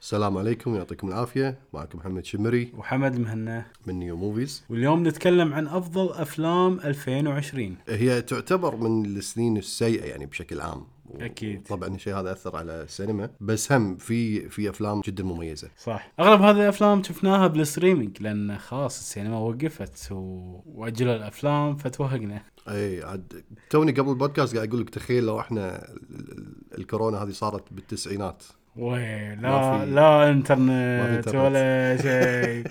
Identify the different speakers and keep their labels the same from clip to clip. Speaker 1: السلام عليكم يعطيكم العافيه معكم محمد شمري
Speaker 2: وحمد مهنا
Speaker 1: من نيو موفيز
Speaker 2: واليوم نتكلم عن افضل افلام 2020
Speaker 1: هي تعتبر من السنين السيئه يعني بشكل عام و-
Speaker 2: أكيد.
Speaker 1: طبعا الشيء هذا اثر على السينما بس هم في في افلام جدا مميزه
Speaker 2: صح اغلب هذه الافلام شفناها بالستريمينج لان خلاص السينما وقفت و... واجلوا الافلام فتوهقنا
Speaker 1: اي عاد توني قبل البودكاست قاعد اقول لك تخيل لو احنا ال- ال- الكورونا هذه صارت بالتسعينات
Speaker 2: وي
Speaker 1: ما
Speaker 2: لا
Speaker 1: في-
Speaker 2: لا
Speaker 1: ما
Speaker 2: انترنت
Speaker 1: في
Speaker 2: ولا شيء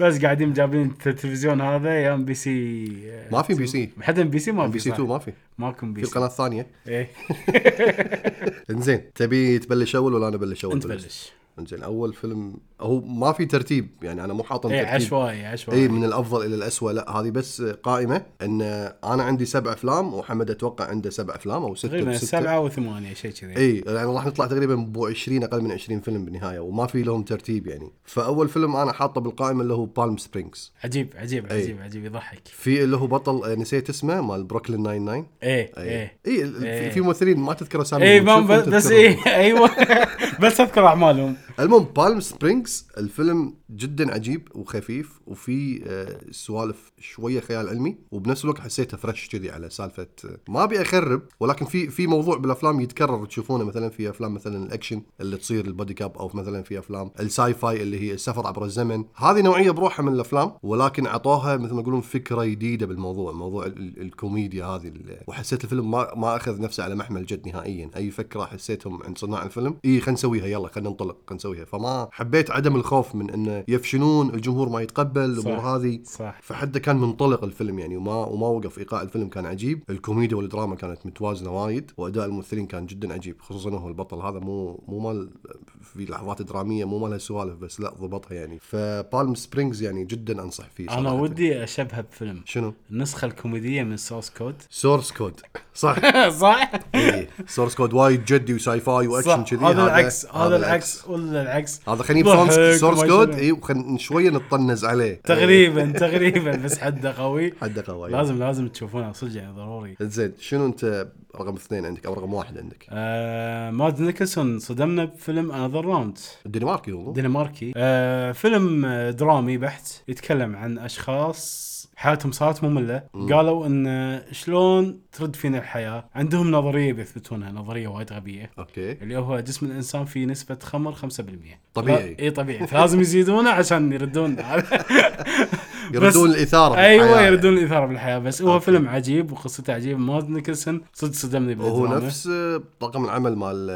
Speaker 2: بس قاعدين جابين التلفزيون هذا يا ام بي سي
Speaker 1: ما في بي سي
Speaker 2: حتى ام بي سي ما
Speaker 1: بي سي 2 ما في
Speaker 2: ماكو ام بي
Speaker 1: في
Speaker 2: سي
Speaker 1: القناه الثانيه
Speaker 2: ايه
Speaker 1: انزين تبي تبلش اول ولا انا ابلش اول؟
Speaker 2: انت
Speaker 1: بلشت؟
Speaker 2: بلش
Speaker 1: انزين اول فيلم هو ما في ترتيب يعني انا مو حاطن
Speaker 2: ايه
Speaker 1: ترتيب
Speaker 2: عشوائي
Speaker 1: اي
Speaker 2: عشوائي
Speaker 1: إيه، من الافضل الى الاسوء لا هذه بس قائمه ان انا عندي سبع افلام وحمد اتوقع عنده سبع افلام او سته
Speaker 2: تقريبا
Speaker 1: بستة.
Speaker 2: سبعة وثمانية شيء كذي
Speaker 1: اي يعني راح نطلع تقريبا بو 20 اقل من 20 فيلم بالنهايه وما في لهم ترتيب يعني فاول فيلم انا حاطه بالقائمه اللي هو بالم سبرينجز
Speaker 2: عجيب عجيب
Speaker 1: إيه.
Speaker 2: عجيب عجيب يضحك
Speaker 1: في اللي هو بطل آه، نسيت اسمه مال بروكلين 99
Speaker 2: ايه
Speaker 1: اي
Speaker 2: ايه
Speaker 1: اي ال-
Speaker 2: إيه.
Speaker 1: في- في ممثلين ما تذكر اساميهم
Speaker 2: اي إيه، ما
Speaker 1: تشوفهم
Speaker 2: ب- بس
Speaker 1: تذكرهم.
Speaker 2: اي ايوه بس اذكر اعمالهم
Speaker 1: المهم بالم سبرينجز الفيلم جدا عجيب وخفيف وفي آه، سوالف شويه خيال علمي وبنفس الوقت حسيته فريش كذي على سالفه آه، ما ابي اخرب ولكن في في موضوع بالافلام يتكرر تشوفونه مثلا في افلام مثلا الاكشن اللي تصير البودي كاب او مثلا في افلام الساي فاي اللي هي السفر عبر الزمن هذه نوعيه بروحها من الافلام ولكن اعطوها مثل ما يقولون فكره جديده بالموضوع موضوع ال- ال- الكوميديا هذه ال- وحسيت الفيلم ما ما اخذ نفسه على محمل جد نهائيا اي فكره حسيتهم عند صناع الفيلم اي خلينا نسويها يلا خلينا ننطلق خلينا نسويها فما حبيت عدم الخوف من انه يفشنون الجمهور ما يتقبل الامور
Speaker 2: صح.
Speaker 1: هذه
Speaker 2: صح
Speaker 1: فحده كان منطلق الفيلم يعني وما وما وقف ايقاع الفيلم كان عجيب الكوميديا والدراما كانت متوازنه وايد واداء الممثلين كان جدا عجيب خصوصا هو البطل هذا مو مو مال في لحظات دراميه مو مالها سوالف بس لا ضبطها يعني فبالم سبرينجز يعني جدا انصح فيه
Speaker 2: انا
Speaker 1: صراحة.
Speaker 2: ودي اشبهه بفيلم
Speaker 1: شنو
Speaker 2: النسخة الكوميدية من سورس كود
Speaker 1: سورس كود صح
Speaker 2: صح؟
Speaker 1: إيه. سورس كود وايد جدي وساي فاي واكشن كذي
Speaker 2: هذا العكس هذا العكس إيه. ولا العكس
Speaker 1: هذا خلينا
Speaker 2: ضحك
Speaker 1: نجيب سورس
Speaker 2: وما
Speaker 1: كود
Speaker 2: شنو.
Speaker 1: اي وخلينا شويه نطنز عليه إيه.
Speaker 2: تقريبا تقريبا بس حده قوي
Speaker 1: حد قوي
Speaker 2: لازم لازم تشوفونها صدق يعني ضروري
Speaker 1: زين شنو انت رقم اثنين عندك او رقم واحد عندك؟
Speaker 2: آه ماد نيكلسون صدمنا بفيلم انذر راوند
Speaker 1: الدنماركي والله
Speaker 2: دنماركي آه فيلم آه، درامي بحت يتكلم عن اشخاص حياتهم صارت مملة قالوا ان آه، شلون ترد فينا الحياة عندهم نظرية بيثبتونها نظرية وايد غبية
Speaker 1: اوكي
Speaker 2: اللي هو جسم الانسان فيه نسبة خمر 5%
Speaker 1: طبيعي.
Speaker 2: لا- اي طبيعي فلازم يزيدونه عشان يردون
Speaker 1: يردون الاثاره
Speaker 2: ايوه
Speaker 1: بالحياة.
Speaker 2: يردون الاثارة بالحياة بس هو
Speaker 1: أوكي.
Speaker 2: فيلم عجيب وقصته عجيبة ماد نيكلسون صدق صدمني
Speaker 1: وهو
Speaker 2: بالدراما
Speaker 1: نفس آه، طاقم العمل مال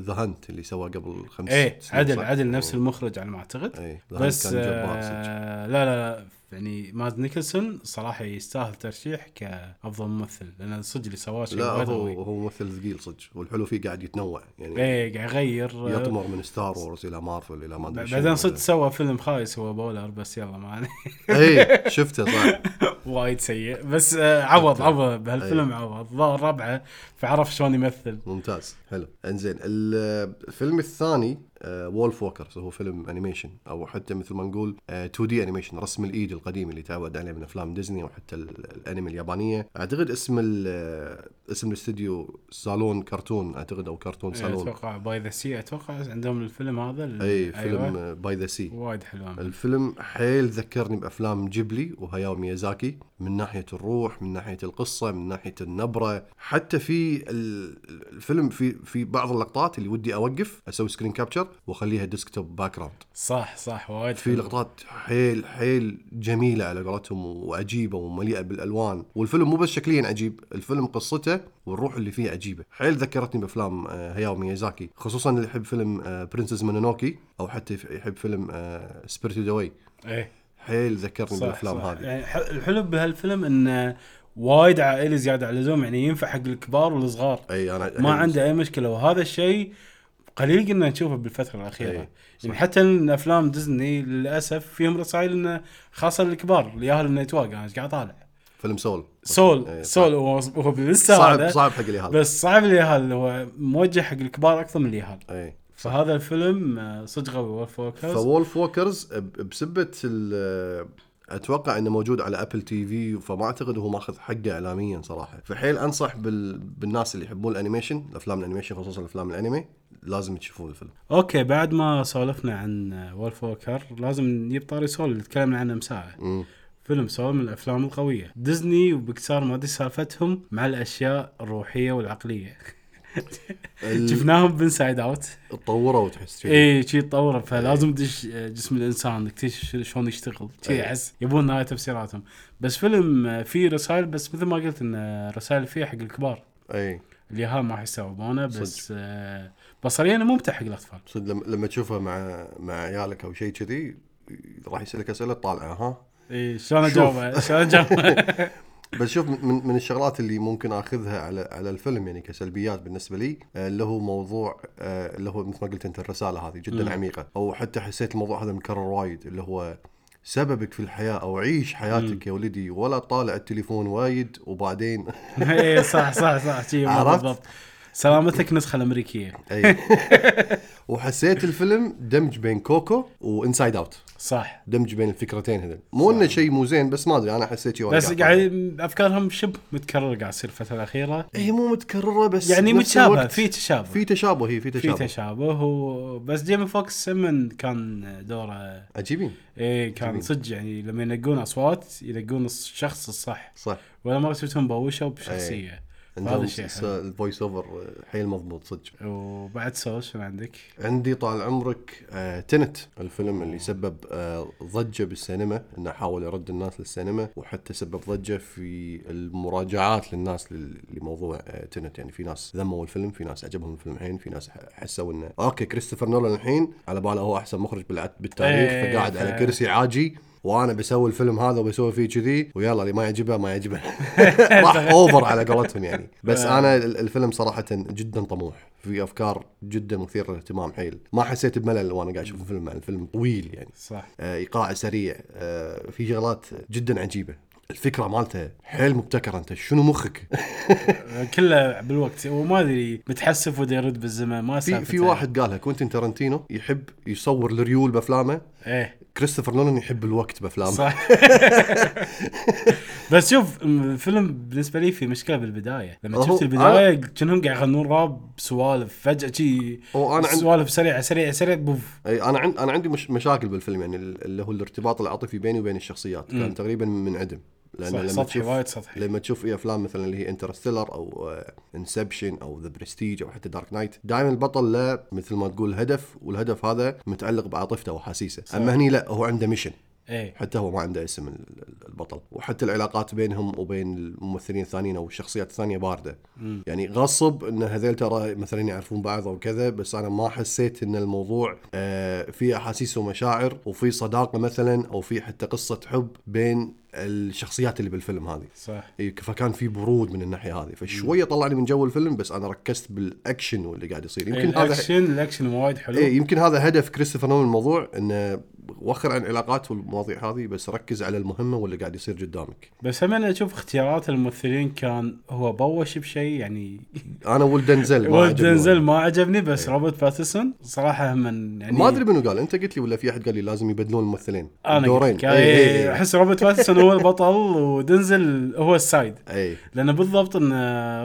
Speaker 1: ذا هانت اللي سواه قبل خمس
Speaker 2: ايه
Speaker 1: سنين،
Speaker 2: عدل
Speaker 1: صح؟
Speaker 2: عدل نفس
Speaker 1: أوه.
Speaker 2: المخرج على ما اعتقد
Speaker 1: ايه The Hunt
Speaker 2: بس
Speaker 1: كان جبار صدق
Speaker 2: آه لا لا لا يعني ماد نيكلسون صراحه يستاهل ترشيح كافضل ممثل لان صدق اللي سواه شيء
Speaker 1: لا
Speaker 2: وايد
Speaker 1: هو
Speaker 2: قوي
Speaker 1: هو ممثل ثقيل صدق والحلو فيه قاعد يتنوع يعني
Speaker 2: ايه قاعد يغير آه،
Speaker 1: يطمر من ستار وورز الى مارفل الى ما ادري شنو.
Speaker 2: بعدين صدق سوى فيلم خايس هو بولر بس يلا ما عليه.
Speaker 1: ايه شفته صح
Speaker 2: وايد سيء بس آه عوض عوض بهالفيلم عوض ظهر ربعه فعرف شلون يمثل
Speaker 1: ممتاز حلو انزين ال- الفيلم الثاني آه، وولف ووكرز هو فيلم انيميشن او حتى مثل ما نقول آه، 2 دي انيميشن رسم الايد القديم اللي تعود عليه من افلام ديزني وحتى ال- الانمي اليابانيه اعتقد اسم ال- آه، اسم الاستديو صالون كرتون اعتقد او كرتون
Speaker 2: إيه،
Speaker 1: صالون
Speaker 2: اتوقع باي ذا سي اتوقع عندهم الفيلم هذا ال-
Speaker 1: اي
Speaker 2: أيوة.
Speaker 1: فيلم آه، باي ذا سي
Speaker 2: وايد حلو
Speaker 1: الفيلم حيل ذكرني بافلام جيبلي وهاياو ميازاكي من ناحيه الروح من ناحيه القصه من ناحيه النبره حتى في ال- الفيلم في في بعض اللقطات اللي ودي اوقف اسوي سكرين كابتشر واخليها ديسكتوب باك جراوند
Speaker 2: صح صح وايد
Speaker 1: في
Speaker 2: حلو.
Speaker 1: لقطات حيل حيل جميله على قولتهم وعجيبه ومليئه بالالوان والفيلم مو بس شكليا عجيب الفيلم قصته والروح اللي فيه عجيبه حيل ذكرتني بافلام آه، هياو ميازاكي خصوصا اللي يحب فيلم آه، برنسس مونونوكي او حتى يحب فيلم آه، سبيريتد اواي
Speaker 2: ايه
Speaker 1: حيل ذكرني بالافلام هذه
Speaker 2: يعني ح- الحلو بهالفيلم انه وايد عائلي زياده على اللزوم يعني ينفع حق الكبار والصغار
Speaker 1: اي انا
Speaker 2: ما
Speaker 1: أنا- يعني
Speaker 2: عنده اي مشكله وهذا الشيء قليل قلنا نشوفه بالفتره
Speaker 1: إيه،
Speaker 2: الاخيره يعني حتى إن افلام ديزني للاسف فيهم رسائل انه خاصه الكبار الياهل انه يتواقع انا إيش قاعد طالع
Speaker 1: فيلم سول إيه،
Speaker 2: سول
Speaker 1: صح.
Speaker 2: سول هو هو لسه
Speaker 1: صعب
Speaker 2: صعب
Speaker 1: صعب حق اللي هذا
Speaker 2: بس صعب الياهل هو موجه حق الكبار اكثر من الياهل
Speaker 1: اي
Speaker 2: فهذا الفيلم آه، صدق غوي وولف ووكرز
Speaker 1: فولف ووكرز ب- بسبه ال- اتوقع انه موجود على ابل تي في فما اعتقد هو ماخذ حقه اعلاميا صراحه فحيل انصح بال... بالناس اللي يحبون الانيميشن الافلام الانيميشن خصوصا الافلام الانمي لازم تشوفون الفيلم
Speaker 2: اوكي بعد ما سولفنا عن وولف ووكر لازم نجيب طاري سول اللي تكلمنا عنه من ساعه
Speaker 1: مم.
Speaker 2: فيلم سول من الافلام القويه ديزني وبكسار ما ادري سالفتهم مع الاشياء الروحيه والعقليه
Speaker 1: ال-
Speaker 2: شفناهم بانسايد اوت
Speaker 1: تطوروا تحس شي.
Speaker 2: اي إيه، شي تطور فلازم تدش آه، جسم الانسان تكتشف شلون يشتغل شي
Speaker 1: إيه.
Speaker 2: احس يبون هاي تفسيراتهم بس فيلم آه، فيه رسائل بس مثل ما قلت ان رسائل فيه حق الكبار
Speaker 1: اي
Speaker 2: اليهال ما حيستوعبونه بس آه، بصريا ممتع حق الاطفال
Speaker 1: صدق لما, لما تشوفها مع مع عيالك او شيء كذي راح يسالك اسئله طالعه ها
Speaker 2: اي شلون
Speaker 1: إيه، شوف.
Speaker 2: اجاوبه شلون اجاوبه
Speaker 1: بس شوف من من الشغلات اللي ممكن اخذها على على الفيلم يعني كسلبيات بالنسبه لي آه، اللي هو موضوع آه، اللي هو مثل ما قلت انت الرساله هذه جدا
Speaker 2: مم.
Speaker 1: عميقه او حتى حسيت الموضوع هذا مكرر وايد اللي هو سببك في الحياه او عيش حياتك يا ولدي ولا طالع التليفون وايد وبعدين
Speaker 2: اي إيه، صح صح صح شي
Speaker 1: عرفت؟
Speaker 2: بالضبط سلامتك نسخه الامريكيه
Speaker 1: اي وحسيت الفيلم دمج بين كوكو وانسايد اوت
Speaker 2: صح
Speaker 1: دمج بين الفكرتين هذول مو انه شيء مو زين بس ما ادري انا حسيت شي وأنا
Speaker 2: بس قاعد افكارهم شب متكرره قاعد تصير الفتره الاخيره
Speaker 1: هي مو متكرره إيه، بس
Speaker 2: يعني
Speaker 1: بنفس
Speaker 2: متشابه
Speaker 1: الوقت
Speaker 2: في تشابه
Speaker 1: في تشابه هي في
Speaker 2: في
Speaker 1: تشابه
Speaker 2: تشابه و... بس جيمي فوكس من كان دوره
Speaker 1: عجيبين
Speaker 2: ايه كان
Speaker 1: جميل.
Speaker 2: صدق يعني لما ينقون اصوات ينقون الشخص الصح
Speaker 1: صح
Speaker 2: ولا مره شفتهم بوشوا بشخصيه هذا
Speaker 1: عندهم
Speaker 2: الشيء
Speaker 1: س-
Speaker 2: حلو.
Speaker 1: الفويس اوفر حيل مضبوط صدق
Speaker 2: وبعد سول شنو عندك؟
Speaker 1: عندي طال عمرك آه تنت الفيلم اللي سبب آه ضجه بالسينما انه حاول يرد الناس للسينما وحتى سبب ضجه في المراجعات للناس لل- لموضوع آه تنت يعني في ناس ذموا الفيلم في ناس عجبهم الفيلم الحين في ناس ح- حسوا انه اوكي كريستوفر نولان الحين على باله هو احسن مخرج بالع- بالتاريخ
Speaker 2: إيه،
Speaker 1: فقاعد
Speaker 2: ف-
Speaker 1: على كرسي عاجي وانا بسوي الفيلم هذا وبسوي فيه كذي ويلا اللي ما يعجبه ما يعجبه راح اوفر على قولتهم يعني بس انا ال- الفيلم صراحه جدا طموح في افكار جدا مثيره للاهتمام حيل ما حسيت بملل وانا قاعد اشوف الفيلم الفيلم طويل يعني
Speaker 2: صح
Speaker 1: آه، ايقاع سريع آه، في شغلات جدا عجيبه الفكره مالته حيل مبتكره انت شنو مخك
Speaker 2: كله بالوقت وما ادري متحسف وده يرد بالزمن ما
Speaker 1: في في
Speaker 2: سالفته.
Speaker 1: واحد قالها كوينتين ترنتينو يحب يصور الريول بافلامه
Speaker 2: ايه
Speaker 1: كريستوفر نولان يحب الوقت بافلامه
Speaker 2: صح بس شوف الفيلم بالنسبه لي في مشكله بالبدايه لما
Speaker 1: هو-
Speaker 2: شفت البدايه كأنهم قاعد يغنون راب سوالف فجاه شي
Speaker 1: هو أنا عند-
Speaker 2: سوالف سريعه سريعه سريعه بوف
Speaker 1: اي انا عند انا عندي مش مشاكل بالفيلم يعني ال- اللي هو الارتباط العاطفي بيني وبين الشخصيات كان تقريبا منعدم لان
Speaker 2: صح،
Speaker 1: لما
Speaker 2: سطحي،
Speaker 1: تشوف
Speaker 2: وايد سطحي.
Speaker 1: لما تشوف اي افلام مثلا اللي هي آه، انترستيلر او انسبشن او ذا برستيج او حتى دارك نايت دائما البطل له مثل ما تقول هدف والهدف هذا متعلق بعاطفته واحاسيسه اما هني لا هو عنده ميشن
Speaker 2: ايه
Speaker 1: حتى هو ما عنده اسم ال- ال- البطل وحتى العلاقات بينهم وبين الممثلين الثانيين او الشخصيات الثانيه بارده يعني غصب ان هذيل ترى مثلا يعرفون بعض او كذا بس انا ما حسيت ان الموضوع آه، في احاسيس ومشاعر وفي صداقه مثلا او في حتى قصه حب بين الشخصيات اللي بالفيلم هذه
Speaker 2: صح
Speaker 1: إي، فكان في برود من الناحيه هذه فشويه طلعني من جو الفيلم بس انا ركزت بالاكشن واللي قاعد يصير
Speaker 2: إيه،
Speaker 1: يمكن هذا
Speaker 2: الاكشن الاكشن وايد حلو
Speaker 1: ايه يمكن هذا هدف كريستوفر نولان من الموضوع انه وخر عن العلاقات والمواضيع هذه بس ركز على المهمه واللي قاعد يصير قدامك.
Speaker 2: بس هم انا اشوف اختيارات الممثلين كان هو بوش بشيء يعني
Speaker 1: انا ولدنزل ما عجبني إيه.
Speaker 2: دنزل ما عجبني بس روبرت باتسون صراحه هم من- يعني
Speaker 1: ما ادري منو قال انت قلت لي ولا في احد قال لي لازم يبدلون الممثلين
Speaker 2: انا
Speaker 1: دورين إيه،
Speaker 2: دورين احس روبرت باتسون هو البطل ودنزل هو السايد
Speaker 1: اي
Speaker 2: لانه بالضبط ان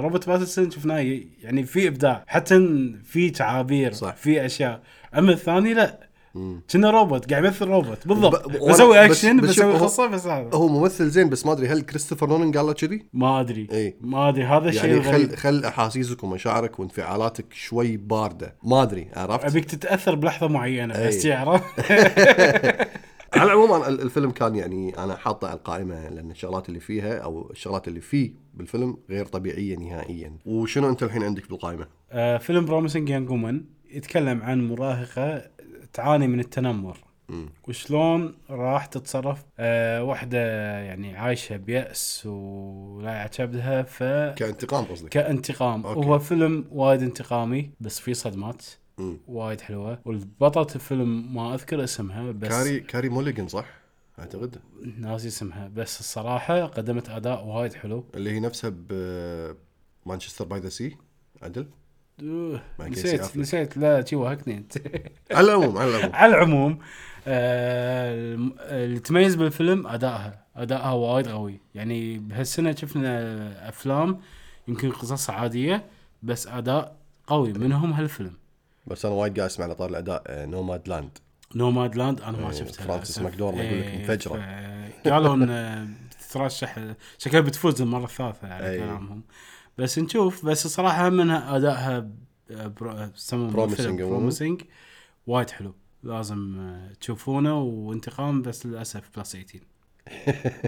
Speaker 2: روبرت باتسون شفناه ي- يعني في ابداع حتى إن في تعابير
Speaker 1: صح.
Speaker 2: في اشياء اما الثاني لا كنا روبوت قاعد يمثل روبوت بالضبط
Speaker 1: ب-
Speaker 2: بسوي
Speaker 1: وأنا- بس-
Speaker 2: اكشن
Speaker 1: بس شوف
Speaker 2: بسوي
Speaker 1: هو-
Speaker 2: قصه بس هذا
Speaker 1: هو ممثل زين بس ما ادري هل كريستوفر نولان قال له كذي؟
Speaker 2: ما ادري
Speaker 1: إيه.
Speaker 2: ما ادري هذا الشيء
Speaker 1: يعني
Speaker 2: الغريب
Speaker 1: خل خل احاسيسك ومشاعرك وانفعالاتك شوي بارده ما ادري عرفت؟
Speaker 2: ابيك تتاثر بلحظه معينه
Speaker 1: إيه.
Speaker 2: بس تعرف
Speaker 1: على العموم أنا ال- الفيلم كان يعني انا حاطه على القائمه لان الشغلات اللي فيها او الشغلات اللي فيه بالفيلم غير طبيعيه نهائيا. وشنو انت الحين عندك بالقائمه؟
Speaker 2: آه، فيلم بروميسنج يانج وومن يتكلم عن مراهقه تعاني من التنمر
Speaker 1: مم.
Speaker 2: وشلون راح تتصرف آه واحده يعني عايشه بيأس ولا يعتبدها ف
Speaker 1: كانتقام قصدك؟
Speaker 2: كانتقام
Speaker 1: أوكي.
Speaker 2: هو فيلم وايد انتقامي بس فيه صدمات
Speaker 1: مم.
Speaker 2: وايد حلوه والبطلة الفيلم ما اذكر اسمها بس
Speaker 1: كاري كاري موليجن صح؟ اعتقد
Speaker 2: ناسي اسمها بس الصراحه قدمت اداء وايد حلو
Speaker 1: اللي هي نفسها ب مانشستر باي ذا سي عدل؟
Speaker 2: أوه،
Speaker 1: مع كيسي
Speaker 2: نسيت
Speaker 1: عفلة.
Speaker 2: نسيت لا شي وهكني انت
Speaker 1: على العموم على العموم
Speaker 2: على العموم آه، الم- اللي تميز بالفيلم ادائها ادائها وايد قوي يعني بهالسنه شفنا افلام يمكن قصصها عاديه بس اداء قوي منهم هالفيلم
Speaker 1: بس انا وايد قاعد اسمع على طار الاداء نوماد لاند
Speaker 2: نوماد لاند انا ما
Speaker 1: إيه،
Speaker 2: شفتها
Speaker 1: فرانسيس
Speaker 2: للأسف.
Speaker 1: مكدورما يقول لك
Speaker 2: إيه،
Speaker 1: منفجرة.
Speaker 2: ف- قالوا ان بتترشح شكلها بتفوز المره الثالثه على
Speaker 1: أي.
Speaker 2: كلامهم بس نشوف بس الصراحه منها ادائها ب- آه، برو- يسمونه
Speaker 1: Promising
Speaker 2: بالفيلم
Speaker 1: عموماً.
Speaker 2: promising وايد حلو لازم آه، تشوفونه وانتقام بس للاسف بلس 18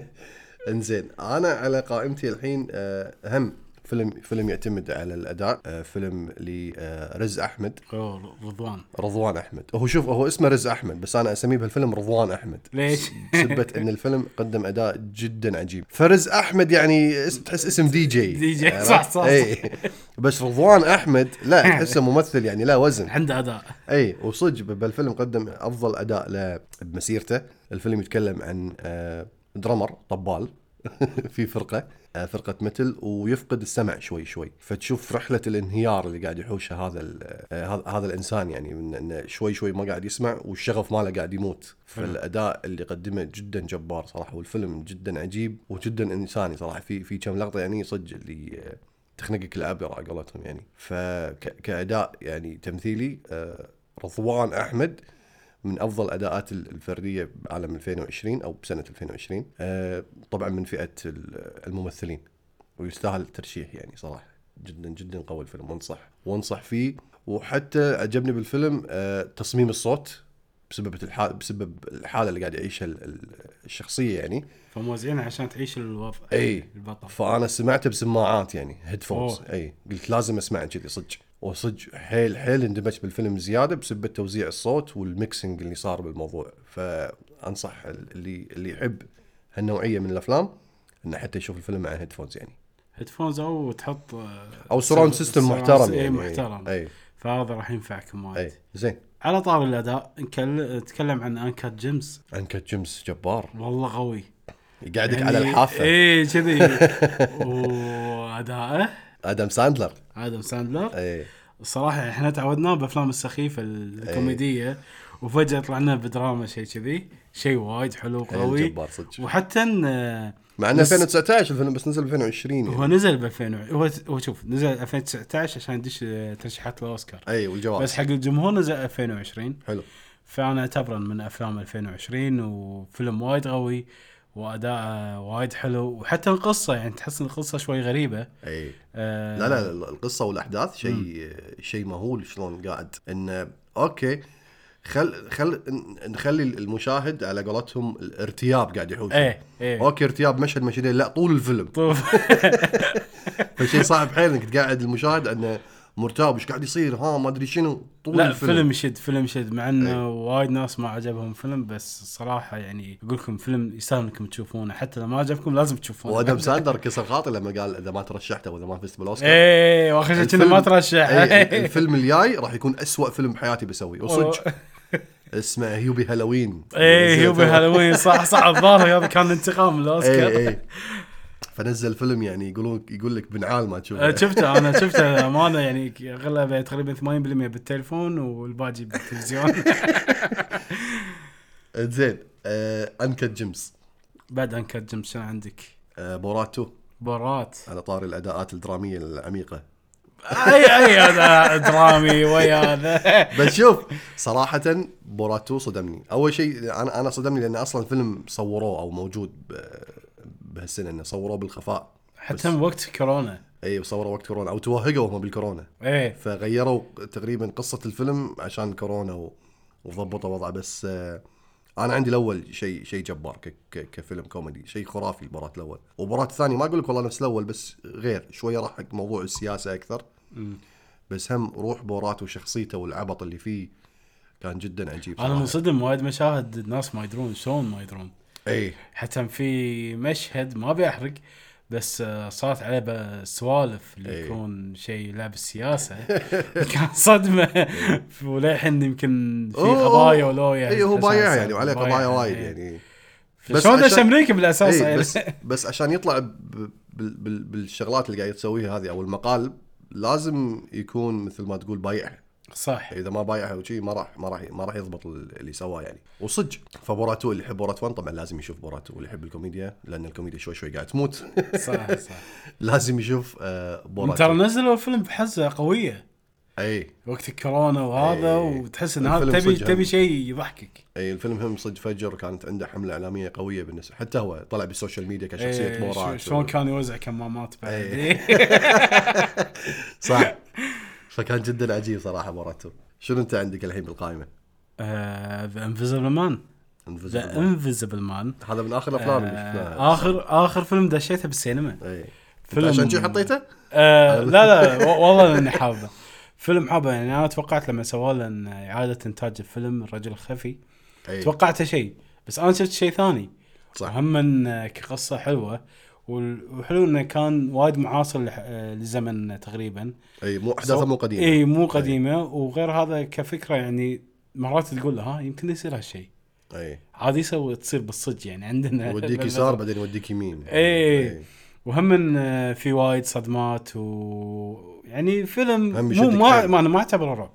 Speaker 1: انزين انا على قائمتي الحين آه، هم فيلم فيلم يعتمد على الاداء آه، فيلم آه، لرز احمد
Speaker 2: أوه، رضوان
Speaker 1: رضوان احمد هو شوف هو اسمه رز احمد بس انا اسميه بالفيلم رضوان احمد
Speaker 2: ليش؟
Speaker 1: بسبة ان الفيلم قدم اداء جدا عجيب فرز احمد يعني اس- تحس اسم دي جي
Speaker 2: دي جي،
Speaker 1: عرفت؟
Speaker 2: صح، صح.
Speaker 1: اي بس رضوان احمد لا تحسه ممثل يعني لا وزن
Speaker 2: عنده اداء
Speaker 1: اي وصدق بالفيلم قدم افضل اداء له بمسيرته الفيلم يتكلم عن آه، درامر طبال في فرقه آه، فرقه متل ويفقد السمع شوي شوي فتشوف رحله الانهيار اللي قاعد يحوشها هذا ال- آه، هذا- هذا الانسان يعني من انه شوي شوي ما قاعد يسمع والشغف ماله قاعد يموت فالاداء اللي قدمه جدا جبار صراحه والفيلم جدا عجيب وجدا انساني صراحه في في كم لقطه يعني صدق اللي آه، تخنقك العبره على قولتهم يعني فكاداء يعني تمثيلي آه، رضوان احمد من افضل اداءات الفرديه بعالم 2020 او بسنه 2020 آه، طبعا من فئه ال- الممثلين ويستاهل الترشيح يعني صراحه جدا جدا قوي الفيلم وانصح وانصح فيه وحتى عجبني بالفيلم آه، تصميم الصوت بسبب الحال بسبب الحاله اللي قاعد يعيشها ال- ال- الشخصيه يعني
Speaker 2: فموزعينها عشان تعيش الوضع
Speaker 1: أي.
Speaker 2: البطل
Speaker 1: فانا سمعته بسماعات يعني هيدفونز
Speaker 2: أوه.
Speaker 1: اي قلت لازم اسمعه كذي صدق وصدق حيل حيل اندمجت بالفيلم زياده بسبب توزيع الصوت والميكسنج اللي صار بالموضوع فانصح اللي اللي يحب هالنوعيه من الافلام انه حتى يشوف الفيلم مع هيدفونز يعني
Speaker 2: هيدفونز او تحط آه،
Speaker 1: او سراوند
Speaker 2: surround-
Speaker 1: سيستم
Speaker 2: surround-
Speaker 1: محترم
Speaker 2: إيه،
Speaker 1: يعني إيه.
Speaker 2: محترم
Speaker 1: اي
Speaker 2: فهذا راح ينفعكم وايد
Speaker 1: اي زين
Speaker 2: على طار الاداء نكل- نتكلم عن انكات جيمس
Speaker 1: انكت جيمس جبار
Speaker 2: والله قوي
Speaker 1: يقعدك على
Speaker 2: يعني،
Speaker 1: الحافه
Speaker 2: اي كذي وادائه
Speaker 1: ادم ساندلر
Speaker 2: ادم ساندلر
Speaker 1: اي
Speaker 2: الصراحه احنا تعودنا بافلام السخيفه الكوميديه وفجاه طلعنا بدراما شيء كذي شيء وايد حلو
Speaker 1: حيل
Speaker 2: قوي
Speaker 1: جبار صدق
Speaker 2: وحتى إن-
Speaker 1: مع انه
Speaker 2: بس-
Speaker 1: 2019 الفيلم بس نزل 2020
Speaker 2: هو
Speaker 1: يعني.
Speaker 2: نزل ب 2000 هو هو شوف نزل 2019 عشان يدش آه، ترشيحات الاوسكار
Speaker 1: اي والجوائز
Speaker 2: بس حق الجمهور نزل 2020
Speaker 1: حلو
Speaker 2: فانا اعتبره من افلام 2020 وفيلم وايد قوي واداءه وايد حلو وحتى القصه يعني تحس ان القصه شوي غريبه
Speaker 1: اي
Speaker 2: آه
Speaker 1: لا لا لا، القصه والاحداث شيء شيء مهول شلون قاعد ان اوكي خل خل ن- نخلي المشاهد على قولتهم الارتياب قاعد يحوش
Speaker 2: ايه ايه
Speaker 1: اوكي ارتياب مشهد مشهدين لا طول الفيلم
Speaker 2: طوف
Speaker 1: فشيء صعب حيل انك تقعد المشاهد انه مرتاب وش قاعد يصير ها ما ادري شنو طول
Speaker 2: لا
Speaker 1: الفيلم
Speaker 2: فيلم يشد فيلم يشد مع انه
Speaker 1: إيه.
Speaker 2: وايد ناس ما عجبهم فيلم بس الصراحه يعني اقول لكم فيلم يستاهل انكم تشوفونه حتى لو ما عجبكم لازم تشوفونه
Speaker 1: وادم ساندر كسر خاطر لما قال اذا ما ترشحت واذا ما فزت بالاوسكار
Speaker 2: ايه واخر شيء كنا
Speaker 1: الفيلم- إيه،
Speaker 2: ما ترشح إيه،
Speaker 1: أي، الفيلم الجاي راح يكون أسوأ فيلم بحياتي بسويه وصدق اسمه هيوبي هالوين إيه،
Speaker 2: ايه يوبي هالوين صح صح الظاهر هذا كان انتقام من الاوسكار
Speaker 1: اي اي فنزل فيلم يعني يقولون يقول لك بنعال ما
Speaker 2: أه،
Speaker 1: تشوفه
Speaker 2: شفته انا شفته للامانه يعني ك- اغلبه تقريبا 80% بالتليفون والباقي بالتلفزيون
Speaker 1: إيه، زين آه انكت جيمس
Speaker 2: بعد ان كجم شنو عندك؟
Speaker 1: آه بوراتو
Speaker 2: بورات
Speaker 1: على طار الاداءات الدراميه العميقه
Speaker 2: اي اي هذا درامي ويا هذا
Speaker 1: بس شوف صراحه بوراتو صدمني اول شيء انا انا صدمني لان اصلا فيلم صوروه او موجود ب- بهالسنه انه صوروه بالخفاء
Speaker 2: حتى من وقت كورونا
Speaker 1: اي وصوروه وقت كورونا او توهقوا هم بالكورونا
Speaker 2: ايه
Speaker 1: فغيروا تقريبا قصه الفيلم عشان كورونا و... وضبطوا وضعه بس آه، انا عندي الاول شيء شيء جبار ك... ك... كفيلم كوميدي شيء خرافي البرات الاول وبرات الثاني ما اقول لك والله نفس الاول بس غير شويه راح حق موضوع السياسه اكثر بس هم روح بورات وشخصيته والعبط اللي فيه كان جدا عجيب
Speaker 2: انا
Speaker 1: صراحة.
Speaker 2: منصدم وايد مشاهد الناس ما يدرون شلون ما يدرون
Speaker 1: اي
Speaker 2: حتى في مشهد ما بيحرق بس آه، صارت عليه ب- سوالف اللي
Speaker 1: إيه.
Speaker 2: يكون شيء لعب السياسه كان صدمه وللحين يمكن في
Speaker 1: أوه،
Speaker 2: قضايا ولويا
Speaker 1: اي هو
Speaker 2: عشان
Speaker 1: بايع
Speaker 2: صار-
Speaker 1: يعني وعليه قضايا
Speaker 2: بايع،
Speaker 1: وايد
Speaker 2: إيه.
Speaker 1: يعني بس
Speaker 2: شلون دش
Speaker 1: عشان-
Speaker 2: امريكا بالاساس
Speaker 1: اي
Speaker 2: يعني.
Speaker 1: إيه، بس بس عشان يطلع ب- بال- بال- بالشغلات اللي قاعد تسويها هذه او المقال لازم يكون مثل ما تقول بايع
Speaker 2: صح
Speaker 1: اذا ما بايعها وشي ما راح ما راح ما راح يضبط ال- اللي سواه يعني وصدق فبوراتو اللي يحب بورات 1 طبعا لازم يشوف بوراتو واللي يحب الكوميديا لان الكوميديا شوي شوي قاعد تموت
Speaker 2: صح صح
Speaker 1: لازم يشوف آه،
Speaker 2: ترى
Speaker 1: بوراتو
Speaker 2: نزلوا فيلم بحزه قويه
Speaker 1: اي
Speaker 2: وقت الكورونا وهذا
Speaker 1: إيه.
Speaker 2: وتحس ان هذا
Speaker 1: الفيلم
Speaker 2: تبي
Speaker 1: صدق
Speaker 2: تبي
Speaker 1: هم.
Speaker 2: شيء يضحكك
Speaker 1: اي الفيلم هم صدق فجر كانت عنده حمله اعلاميه قويه بالنسبه حتى هو طلع بالسوشيال ميديا كشخصيه
Speaker 2: إيه،
Speaker 1: بورات
Speaker 2: شو- شلون كان يوزع كمامات بعد
Speaker 1: إيه. صح فكان جدا عجيب صراحه بوراتو شنو انت عندك الحين بالقائمه؟
Speaker 2: ذا انفيزبل مان
Speaker 1: Invisible
Speaker 2: ذا
Speaker 1: Man.
Speaker 2: انفيزبل مان
Speaker 1: يعني. هذا من اخر الافلام اللي شفناها
Speaker 2: اخر اخر آه، فيلم دشيته بالسينما
Speaker 1: اي
Speaker 2: فيلم-
Speaker 1: فيلم عشان شي حطيته؟
Speaker 2: آه لا لا و- والله اني حابه فيلم حابه يعني انا توقعت لما سووا له إن اعاده انتاج الفيلم الرجل الخفي
Speaker 1: اي
Speaker 2: توقعته شيء بس انا شفت شيء ثاني
Speaker 1: إيه. صح.
Speaker 2: هم إن كقصه حلوه وال- وحلو انه كان وايد معاصر لح- آه، لزمن تقريبا
Speaker 1: اي إيه، مو احداثه مو قديمه
Speaker 2: اي مو قديمه وغير هذا كفكره يعني مرات تقول ها يمكن يصير هالشيء
Speaker 1: اي
Speaker 2: عادي يسوي تصير بالصدق يعني عندنا
Speaker 1: يوديك إيه. يسار بعدين يوديك يمين
Speaker 2: إيه. وهم إن، آه، في وايد صدمات و يعني فيلم
Speaker 1: هم
Speaker 2: مو
Speaker 1: يشدك
Speaker 2: ما,
Speaker 1: حيل.
Speaker 2: ما انا ما اعتبره رعب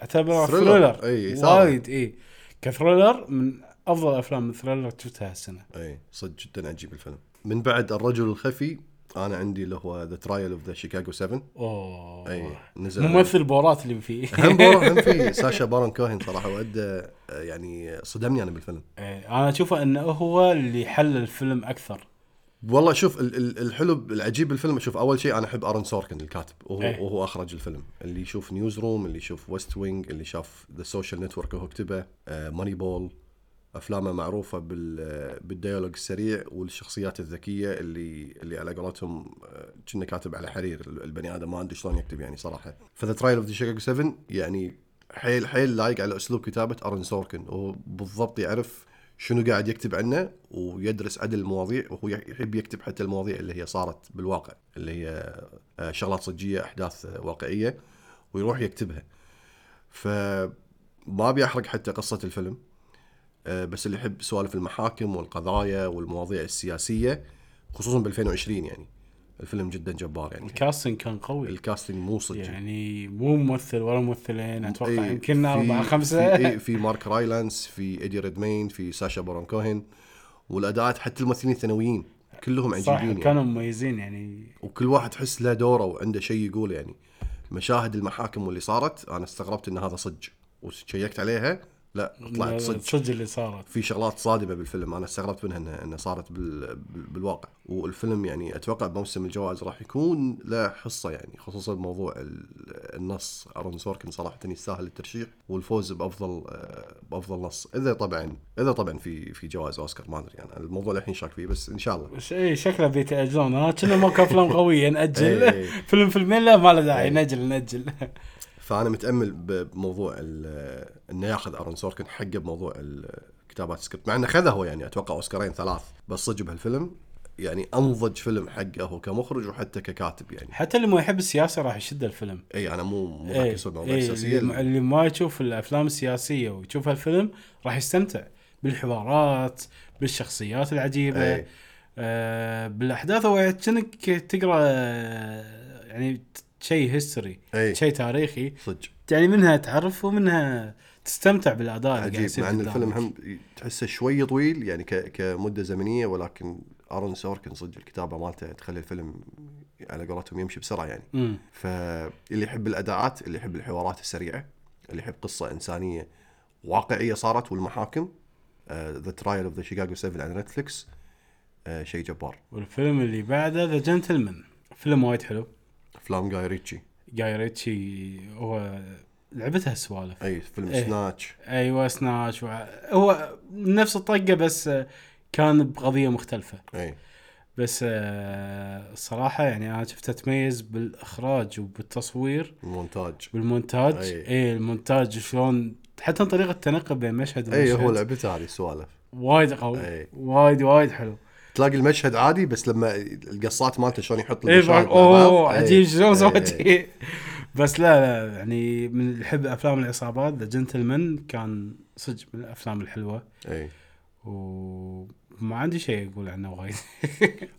Speaker 2: اعتبره
Speaker 1: ثريلر.
Speaker 2: ثريلر
Speaker 1: إي، إثارة.
Speaker 2: وايد اي كثريلر من افضل افلام الثريلر شفتها هالسنه
Speaker 1: اي إيه. صدق جدا عجيب الفيلم من بعد الرجل الخفي انا عندي اللي هو ذا ترايل اوف ذا شيكاغو 7
Speaker 2: اوه
Speaker 1: اي إيه، نزل
Speaker 2: ممثل بورات اللي فيه
Speaker 1: هم بورا- هم في ساشا بارون كوهن صراحه وادى آه، يعني صدمني انا بالفيلم
Speaker 2: إي، انا اشوفه انه هو اللي حل الفيلم اكثر
Speaker 1: والله شوف ال- ال- الحلو ب- العجيب بالفيلم شوف اول شيء انا احب ارون سوركن الكاتب وهو
Speaker 2: إيه.
Speaker 1: وهو اخرج الفيلم اللي يشوف نيوز روم اللي يشوف ويست وينج اللي شاف ذا سوشيال نتورك وهو كتبه آه، ماني بول افلامه معروفه بال آه، بالديالوج السريع والشخصيات الذكيه اللي اللي على قولتهم آه، كنا كاتب على حرير ال- البني ادم ما ادري شلون يكتب يعني صراحه فذا ترايل اوف ذا شيكاغو 7 يعني حيل حيل لايق على اسلوب كتابه ارون سوركن وهو بالضبط يعرف شنو قاعد يكتب عنه ويدرس عدل المواضيع وهو يحب يكتب حتى المواضيع اللي هي صارت بالواقع اللي هي آه، شغلات صجيه احداث آه، واقعيه ويروح يكتبها فما ابي احرق حتى قصه الفيلم آه، بس اللي يحب سوالف المحاكم والقضايا والمواضيع السياسيه خصوصا ب 2020 يعني الفيلم جدا جبار يعني
Speaker 2: الكاستنج كان قوي
Speaker 1: الكاستنج مو صجي
Speaker 2: يعني مو ممثل ولا ممثلين اتوقع
Speaker 1: إي،
Speaker 2: يمكن
Speaker 1: في-
Speaker 2: اربعه
Speaker 1: في,
Speaker 2: خمسه
Speaker 1: إي، في مارك رايلانس في ايدي ريدمين في ساشا بارون كوهن والاداءات حتى الممثلين الثانويين كلهم
Speaker 2: صح
Speaker 1: عجيبين يعني.
Speaker 2: كانوا مميزين يعني
Speaker 1: وكل واحد تحس له دوره وعنده شيء يقوله يعني مشاهد المحاكم واللي صارت انا استغربت ان هذا صج وشيكت عليها لا طلعت صج
Speaker 2: صدق اللي صارت
Speaker 1: في شغلات صادمه بالفيلم انا استغربت منها انها انها صارت بال... بال- بالواقع والفيلم يعني اتوقع بموسم الجوائز راح يكون له حصه يعني خصوصا بموضوع ال- النص ارون سوركن صراحه يستاهل الترشيح والفوز بافضل آه، بافضل نص اذا طبعا اذا طبعا في في جوائز اوسكار ما ادري يعني الموضوع الحين شاك فيه بس ان شاء الله
Speaker 2: ش- اي شكله بيتاجلون ها كنا ماكو افلام قويه ناجل
Speaker 1: إي.
Speaker 2: فيلم فيلمين لا ما له داعي
Speaker 1: إي.
Speaker 2: ناجل ناجل
Speaker 1: فانا متامل ب- بموضوع ال- انه ياخذ ارون سوركن حقه بموضوع ال- كتابات السكريبت مع انه خذه هو يعني اتوقع اوسكارين ثلاث بس صدق بهالفيلم يعني انضج فيلم حقه هو كمخرج وحتى ككاتب يعني
Speaker 2: حتى اللي ما يحب السياسه راح يشد الفيلم
Speaker 1: اي انا مو مو
Speaker 2: إي،
Speaker 1: مركز بالمواضيع
Speaker 2: إي،
Speaker 1: السياسيه
Speaker 2: اللي-
Speaker 1: ال-
Speaker 2: اللي ما يشوف الافلام السياسيه ويشوف هالفيلم راح يستمتع بالحوارات بالشخصيات العجيبه
Speaker 1: إي.
Speaker 2: آه بالاحداث هو كأنك تقرا آه، يعني شيء هيستوري
Speaker 1: إي.
Speaker 2: شيء تاريخي
Speaker 1: صدق
Speaker 2: يعني منها تعرف ومنها تستمتع بالاداء اللي قاعد
Speaker 1: عجيب
Speaker 2: يعني يصير
Speaker 1: مع ان
Speaker 2: قدامك.
Speaker 1: الفيلم هم تحسه شوي طويل يعني ك... كمده زمنيه ولكن ارون سوركن صدق الكتابه مالته تخلي الفيلم على قولتهم يمشي بسرعه يعني
Speaker 2: مم.
Speaker 1: فاللي يحب الاداءات اللي يحب الحوارات السريعه اللي يحب قصه انسانيه واقعيه صارت والمحاكم آه، ذا ترايل اوف ذا شيكاغو 7 على نتفلكس شيء جبار
Speaker 2: والفيلم اللي بعده ذا جنتلمان فيلم وايد حلو
Speaker 1: افلام جاي ريتشي
Speaker 2: جاي ريتشي هو لعبتها السوالف
Speaker 1: اي فيلم
Speaker 2: إيه.
Speaker 1: سناتش
Speaker 2: ايوه سناش وع... هو نفس الطقه بس آه، كان بقضيه مختلفه
Speaker 1: اي
Speaker 2: بس آه، الصراحه يعني انا شفته تميز بالاخراج وبالتصوير
Speaker 1: مونتاج
Speaker 2: بالمونتاج
Speaker 1: أي.
Speaker 2: اي المونتاج شلون حتى طريقه التنقل بين مشهد
Speaker 1: اي هو
Speaker 2: ومشهد
Speaker 1: لعبته هذه السوالف
Speaker 2: وايد قوي
Speaker 1: أي.
Speaker 2: وايد وايد حلو
Speaker 1: تلاقي المشهد عادي بس لما القصات مالته شلون يحط
Speaker 2: ايه
Speaker 1: المشاهد
Speaker 2: بعد-
Speaker 1: مع بعض.
Speaker 2: اوه
Speaker 1: إيه.
Speaker 2: عجيب شلون
Speaker 1: إيه.
Speaker 2: سويت بس لا لا يعني من اللي يحب افلام العصابات ذا جنتلمان كان صدق من الافلام الحلوه
Speaker 1: ايه
Speaker 2: وما عندي شيء اقول عنه وايد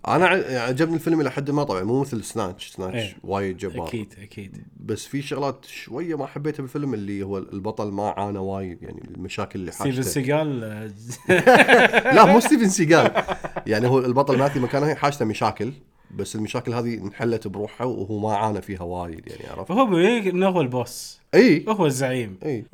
Speaker 1: انا ع- يعني عجبني الفيلم الى حد ما طبعا مو مثل سناتش سناتش
Speaker 2: إيه.
Speaker 1: وايد جبار
Speaker 2: اكيد اكيد
Speaker 1: بس في شغلات شويه ما حبيتها بالفيلم اللي هو البطل ما عانى وايد يعني المشاكل اللي
Speaker 2: ستيفن
Speaker 1: حاشته
Speaker 2: سيجال آه،
Speaker 1: لا مو ستيفن سيجال يعني هو البطل مالتي مكانه حاشته مشاكل بس المشاكل هذه انحلت بروحه وهو ما عانى فيها وايد يعني عرفت؟
Speaker 2: فهو بيوريك انه هو البوس
Speaker 1: اي
Speaker 2: هو الزعيم
Speaker 1: اي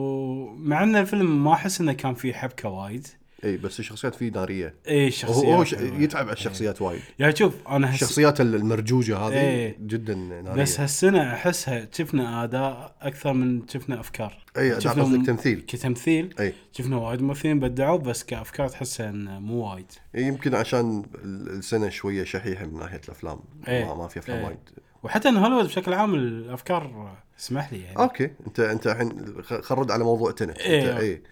Speaker 2: ومع ان الفيلم ما احس انه كان فيه حبكه وايد
Speaker 1: اي بس الشخصيات فيه ناريه
Speaker 2: اي
Speaker 1: هو هو
Speaker 2: شخصيات
Speaker 1: ش- يتعب على الشخصيات وايد
Speaker 2: يعني شوف انا هس...
Speaker 1: الشخصيات ال- المرجوجه هذه
Speaker 2: إيه.
Speaker 1: جدا ناريه
Speaker 2: بس هالسنه احسها شفنا اداء اكثر من شفنا افكار
Speaker 1: اي إيه، أداء
Speaker 2: شفنا
Speaker 1: قصدك
Speaker 2: م-
Speaker 1: تمثيل
Speaker 2: كتمثيل
Speaker 1: اي
Speaker 2: شفنا وايد ممثلين بدعوا بس كافكار تحسها انه مو وايد
Speaker 1: إيه، يمكن عشان ال- السنه شويه شحيحه من ناحيه الافلام
Speaker 2: إيه.
Speaker 1: ما, ما في افلام
Speaker 2: إيه.
Speaker 1: وايد
Speaker 2: وحتى ان هوليوود بشكل عام الافكار اسمح لي يعني
Speaker 1: اوكي انت انت الحين خ- خل نرد على موضوع تنت
Speaker 2: إيه.
Speaker 1: انت اي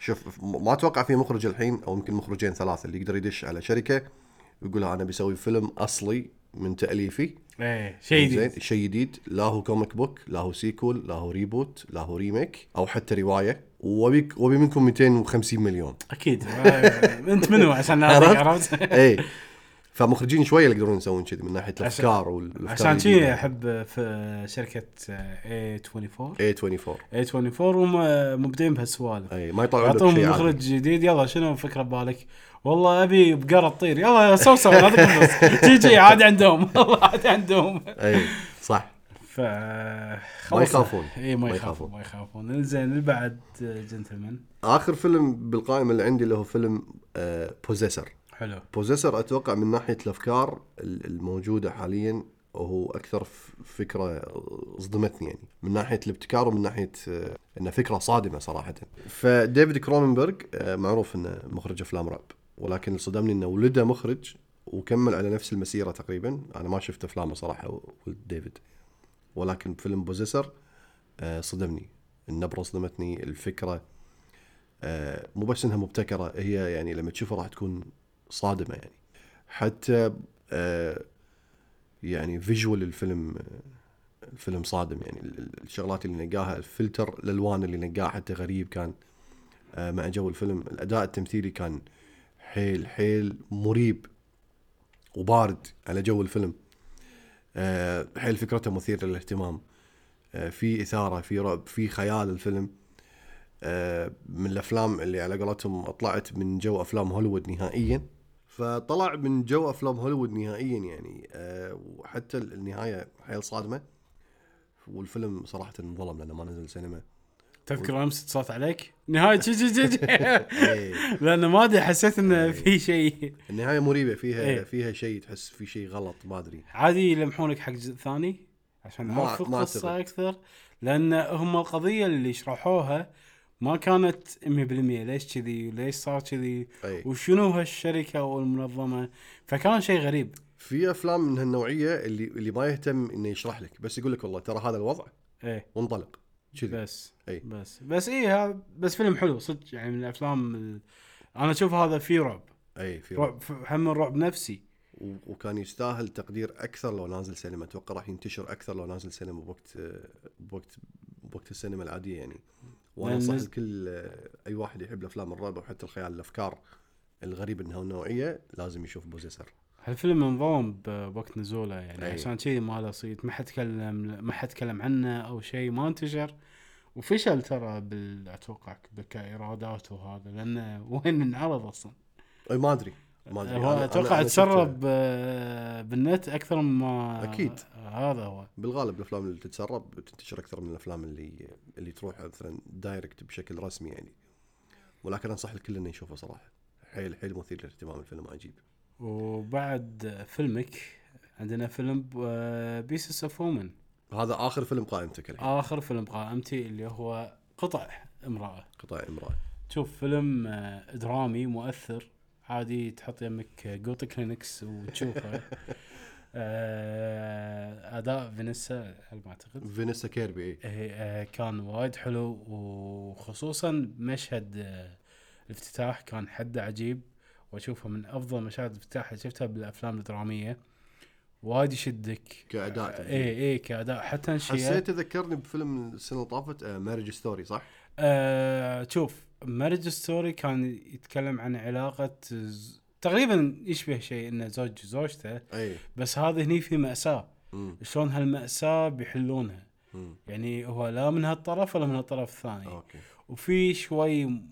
Speaker 1: شوف م- ما اتوقع في مخرج الحين او يمكن مخرجين ثلاثه اللي يقدر يدش على شركه ويقول لها انا بسوي فيلم اصلي من تاليفي
Speaker 2: ايه شيء جديد
Speaker 1: زين شيء جديد لا هو كوميك بوك لا هو سيكول لا هو ريبوت لا هو ريميك او حتى روايه وابيك وابي منكم 250 مليون
Speaker 2: اكيد آه، انت منو عشان
Speaker 1: عرفت؟
Speaker 2: أعطيك، عرفت
Speaker 1: اي فمخرجين شويه اللي يقدرون يسوون كذي من ناحيه
Speaker 2: عشان-
Speaker 1: الافكار والافكار
Speaker 2: عشان شي احب في شركه آه، A24
Speaker 1: A24
Speaker 2: A24 هم آه، مبدعين بهالسوالف
Speaker 1: اي إيه، ما يطلعون لك شيء
Speaker 2: يعطون
Speaker 1: عادي.
Speaker 2: مخرج جديد يلا شنو فكره ببالك؟ والله ابي بقره تطير يلا سوسو لا تقفز جي جي عادي عندهم والله عادي عندهم
Speaker 1: اي إيه، صح
Speaker 2: ف
Speaker 1: ما يخافون.
Speaker 2: اي ما
Speaker 1: ما
Speaker 2: يخافون
Speaker 1: يخافون.
Speaker 2: ما يخافون زين اللي بعد جنتلمان
Speaker 1: اخر فيلم بالقائمه اللي عندي اللي هو فيلم آه، بوزيسر
Speaker 2: حلو
Speaker 1: بوزيسر اتوقع من ناحيه الافكار ال- الموجوده حاليا هو اكثر ف- فكره صدمتني يعني من ناحيه الابتكار ومن ناحيه آه، انه فكره صادمه صراحه فديفيد كرونenبرغ آه، معروف انه مخرج افلام رعب ولكن اللي صدمني انه ولده مخرج وكمل على نفس المسيره تقريبا انا ما شفت افلامه صراحه ولد ديفيد ولكن فيلم بوزيسر آه، صدمني النبره صدمتني الفكره آه، مو بس انها مبتكره هي يعني لما تشوفها راح تكون صادمه يعني حتى آه، يعني فيجوال الفيلم آه، الفيلم صادم يعني ال- ال- الشغلات اللي نقاها الفلتر الالوان اللي نقاها حتى غريب كان آه، مع جو الفيلم الاداء التمثيلي كان حيل حيل مريب وبارد على جو الفيلم آه، حيل فكرته مثيره للاهتمام آه، في اثاره في رعب في خيال الفيلم آه، من الافلام اللي على قولتهم طلعت من جو افلام هوليوود نهائيا فطلع من جو افلام هوليوود نهائيا يعني آه، وحتى النهايه حيل صادمه والفيلم صراحه انظلم لانه ما نزل سينما
Speaker 2: تذكر امس اتصلت عليك نهايه جي جي جي, جي.
Speaker 1: إيه،
Speaker 2: لانه ما ادري حسيت انه في شيء
Speaker 1: النهايه مريبه فيها
Speaker 2: إيه.
Speaker 1: فيها شيء تحس في شيء غلط ما ادري
Speaker 2: عادي يلمحونك حق جزء ثاني عشان
Speaker 1: ما-
Speaker 2: نعرف
Speaker 1: ما
Speaker 2: القصه
Speaker 1: أعتقد.
Speaker 2: اكثر لان هم القضيه اللي شرحوها ما كانت 100% ليش كذي وليش صار كذي
Speaker 1: أي.
Speaker 2: وشنو هالشركه او المنظمه فكان شيء غريب
Speaker 1: في افلام من هالنوعيه اللي اللي ما يهتم انه يشرح لك بس يقول لك والله ترى هذا الوضع
Speaker 2: ايه
Speaker 1: وانطلق كذي
Speaker 2: بس
Speaker 1: أي.
Speaker 2: بس بس ايه بس فيلم حلو صدق يعني من الافلام ال... انا اشوف هذا فيه رعب
Speaker 1: اي إيه، في
Speaker 2: رعب هم رعب نفسي
Speaker 1: و- وكان يستاهل تقدير اكثر لو نازل سينما اتوقع راح ينتشر اكثر لو نازل سينما بوقت آه، بوقت بوقت السينما العاديه يعني وانا
Speaker 2: لأن
Speaker 1: انصح
Speaker 2: نز-
Speaker 1: الكل آه، اي واحد يحب الافلام الرعب وحتى الخيال الافكار الغريبه انها نوعيه لازم يشوف بوزيسر
Speaker 2: هالفيلم انظلم بوقت نزوله يعني
Speaker 1: أي.
Speaker 2: أيه. عشان كذي ما له صيت ما حد تكلم ما حد تكلم عنه او شيء ما انتشر وفشل ترى بال اتوقع ك- كايرادات وهذا لانه وين انعرض اصلا؟
Speaker 1: اي ما ادري ما ادري
Speaker 2: هو
Speaker 1: أنا- أنا-
Speaker 2: اتوقع
Speaker 1: أنا شفت-
Speaker 2: تسرب آه، بالنت اكثر مما
Speaker 1: أكيد.
Speaker 2: هذا هو
Speaker 1: بالغالب الافلام اللي تتسرب تنتشر اكثر من الافلام اللي اللي تروح مثلا دايركت بشكل رسمي يعني ولكن انصح الكل انه يشوفه صراحه حيل حيل مثير للاهتمام الفيلم عجيب
Speaker 2: وبعد فيلمك عندنا فيلم آه، بيسس اوف وومن
Speaker 1: هذا اخر فيلم قائمتك الحين
Speaker 2: اخر فيلم قائمتي اللي هو قطع امراه
Speaker 1: قطاع امراه
Speaker 2: شوف فيلم آه، درامي مؤثر عادي تحط يمك جوتا كلينكس وتشوفه آه، اداء فينيسا على ما اعتقد
Speaker 1: فينيسا كيربي إيه.
Speaker 2: هي- آه، كان وايد حلو وخصوصا مشهد آه، الافتتاح كان حده عجيب واشوفه من افضل مشاهد الافتتاح اللي شفتها بالافلام الدراميه وايد يشدك
Speaker 1: كأداء تمثيل.
Speaker 2: اي اي كاداء حتى نشية
Speaker 1: حسيت ذكرني بفيلم السنه اللي طافت مارج ستوري آه، صح؟
Speaker 2: آه، شوف مارج ستوري كان يتكلم عن علاقه ز- تقريبا يشبه شيء انه زوج زوجته
Speaker 1: اي
Speaker 2: بس هذا هني في ماساه
Speaker 1: إيه. مم.
Speaker 2: شلون هالماساه بيحلونها
Speaker 1: مم.
Speaker 2: يعني هو لا من هالطرف ولا من هالطرف الثاني
Speaker 1: اوكي
Speaker 2: وفي شوي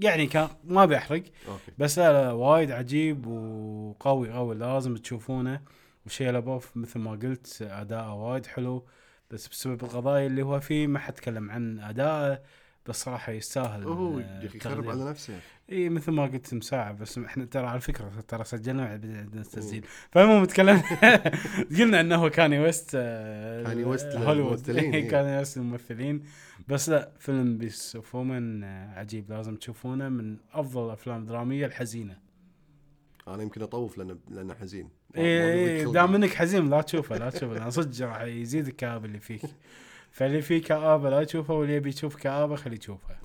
Speaker 2: يعني كان ما بيحرق
Speaker 1: اوكي
Speaker 2: بس لا, لا وايد عجيب وقوي قوي لازم تشوفونه وشيء لابوف مثل ما قلت اداءه وايد حلو بس بسبب القضايا اللي هو فيه ما حد تكلم عن اداءه بس صراحه يستاهل
Speaker 1: هو
Speaker 2: آه،
Speaker 1: يا اخي خرب
Speaker 2: التقدير.
Speaker 1: على نفسه يا أخي.
Speaker 2: اي إيه، مثل ما قلت مساعة بس احنا ترى على فكره ترى سجلنا بعد بدأ عندنا التسجيل فالمهم تكلمنا قلنا انه هو كاني ويست آه،
Speaker 1: كاني ويست
Speaker 2: هوليوود إيه،
Speaker 1: للممثلين، إيه. إي.
Speaker 2: كاني ويست الممثلين بس لا فيلم بيس اوف وومن عجيب لازم تشوفونه من افضل الافلام الدراميه الحزينه
Speaker 1: انا يمكن اطوف لانه لانه حزين
Speaker 2: اي إي، إيه، دام انك حزين لا تشوفه لا تشوفه لان صدق راح يزيد الكآبه اللي فيك فاللي فيه كآبه لا تشوفه واللي يبي يشوف كآبه خليه يشوفها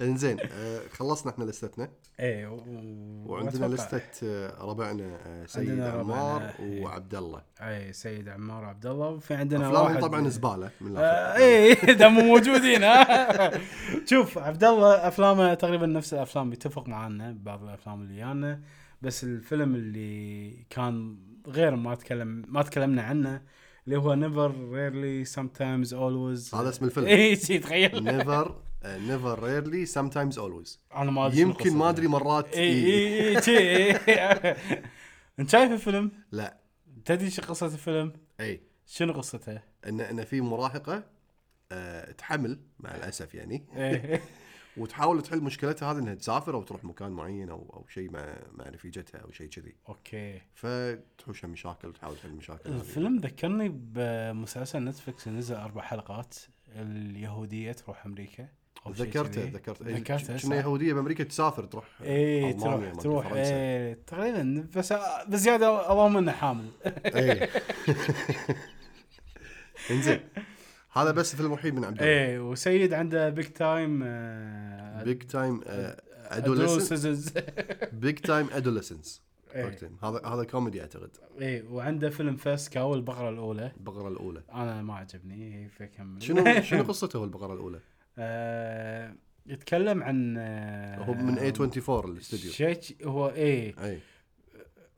Speaker 1: انزين آه، خلصنا احنا لستنا
Speaker 2: اي إيه، و- و-
Speaker 1: وعندنا
Speaker 2: وأتوقع-
Speaker 1: لستة آه، ربعنا آه، سيد
Speaker 2: عندنا
Speaker 1: عمار
Speaker 2: ربعنا، إي.
Speaker 1: وعبد الله
Speaker 2: اي إيه، سيد عمار عبد الله وفي عندنا
Speaker 1: افلامهم
Speaker 2: واحد
Speaker 1: طبعا زباله من
Speaker 2: آه،
Speaker 1: الاخر
Speaker 2: اي دام موجودين ها شوف عبد الله افلامه تقريبا نفس الافلام يتفق معانا بعض الافلام اللي ويانا بس الفيلم اللي كان غير ما تكلم ما تكلمنا عنه اللي هو نيفر ريرلي سم تايمز اولويز
Speaker 1: هذا اسم الفيلم. آه،
Speaker 2: اي إيه، تخيل
Speaker 1: نيفر نيفر ريرلي سم تايمز اولويز
Speaker 2: انا ما ادري شنو إيه،
Speaker 1: يمكن ما
Speaker 2: القصة.
Speaker 1: ادري مرات إيه.
Speaker 2: اي
Speaker 1: إي.
Speaker 2: اي اي شي، إيه، إي. انت شايف الفيلم؟
Speaker 1: لا إيه.
Speaker 2: تدري شو قصه الفيلم؟
Speaker 1: اي
Speaker 2: شنو قصته؟
Speaker 1: ان ان في مراهقه آه، تحمل مع الاسف يعني
Speaker 2: إي.
Speaker 1: وتحاول تحل مشكلتها هذه انها تسافر او تروح مكان معين او او شيء مع مع رفيجتها او شيء كذي
Speaker 2: اوكي
Speaker 1: فتحوشها مشاكل وتحاول تحل المشاكل هذه
Speaker 2: الفيلم ذكرني بمسلسل نتفلكس نزل اربع حلقات اليهوديه تروح امريكا أو شيء
Speaker 1: ذكرته
Speaker 2: كذي.
Speaker 1: ذكرته
Speaker 2: ذكرته
Speaker 1: إيه، كنا
Speaker 2: صح؟
Speaker 1: يهوديه بامريكا تسافر تروح
Speaker 2: ايه
Speaker 1: ألمانيا،
Speaker 2: تروح
Speaker 1: ما أدري،
Speaker 2: تروح
Speaker 1: فرنسا.
Speaker 2: ايه تقريبا بس بزياده اللهم انه حامل
Speaker 1: ايه انزين هذا بس الفيلم الوحيد من عبد الله
Speaker 2: ايه وسيد عنده بيج تايم آه،
Speaker 1: بيج تايم ادوليسنس
Speaker 2: adolescence.
Speaker 1: بيج تايم ادوليسنس
Speaker 2: إيه.
Speaker 1: هذا هذا كوميدي اعتقد
Speaker 2: ايه وعنده فيلم فيرست كاو البقره الاولى
Speaker 1: البقره الاولى
Speaker 2: انا ما عجبني فكمل
Speaker 1: شنو شنو قصته هو البقره الاولى؟
Speaker 2: آه، يتكلم عن آه،
Speaker 1: هو من A24 الاستوديو
Speaker 2: شيء هو ايه
Speaker 1: اي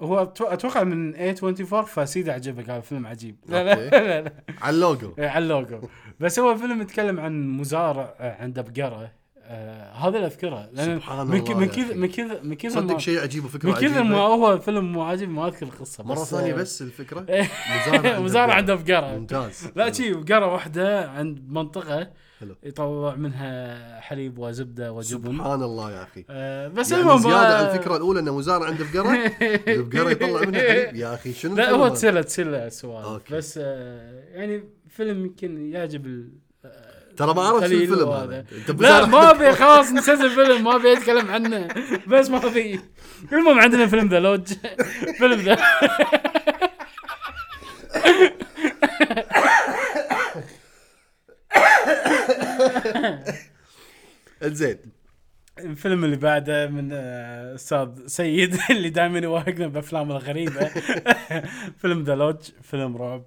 Speaker 2: هو أتو- اتوقع من A24 فسيد عجبك هذا الفيلم عجيب لا
Speaker 1: أوكي.
Speaker 2: لا لا, لا.
Speaker 1: على اللوجو
Speaker 2: إيه، على اللوجو بس هو فيلم يتكلم عن مزارع آه، عنده بقره آه، هذا اللي اذكره لان
Speaker 1: سبحان
Speaker 2: من
Speaker 1: الله
Speaker 2: ك-
Speaker 1: يا
Speaker 2: من
Speaker 1: أخي.
Speaker 2: كذا من كذا من كذا
Speaker 1: صدق
Speaker 2: ما-
Speaker 1: شيء عجيب وفكره
Speaker 2: من كذا
Speaker 1: عجيبه
Speaker 2: ما هو فيلم مو عاجب ما اذكر القصه
Speaker 1: مره
Speaker 2: بس،
Speaker 1: ثانيه
Speaker 2: آه،
Speaker 1: بس الفكره
Speaker 2: إيه.
Speaker 1: مزارع
Speaker 2: مزارع عنده
Speaker 1: بقرة.
Speaker 2: بقره
Speaker 1: ممتاز
Speaker 2: لا شي بقره واحده عند منطقه
Speaker 1: حلو.
Speaker 2: يطلع منها حليب وزبده وجبن
Speaker 1: سبحان الله يا اخي
Speaker 2: آه، بس
Speaker 1: يعني
Speaker 2: المهم
Speaker 1: زياده عن
Speaker 2: آه،
Speaker 1: الفكره الاولى انه مزارع عنده بقره البقره يطلع منها حليب يا اخي شنو
Speaker 2: لا
Speaker 1: الفيلم
Speaker 2: هو
Speaker 1: هذا؟
Speaker 2: تسلى تسلى سوالف
Speaker 1: أوكي.
Speaker 2: بس آه، يعني فيلم يمكن يعجب ال آه،
Speaker 1: ترى ما اعرف شو
Speaker 2: قليل
Speaker 1: الفيلم
Speaker 2: وهذا.
Speaker 1: هذا أنت
Speaker 2: لا
Speaker 1: مزارع
Speaker 2: ما
Speaker 1: عندك-
Speaker 2: ابي خلاص نسيت الفيلم ما ابي اتكلم عنه بس ما ابي المهم عندنا فيلم ذا لوج فيلم ذا
Speaker 1: انزين
Speaker 2: الفيلم اللي بعده من آه، استاذ سيد اللي دائما يواهقنا بافلامه الغريبه فيلم ذا لوج فيلم رعب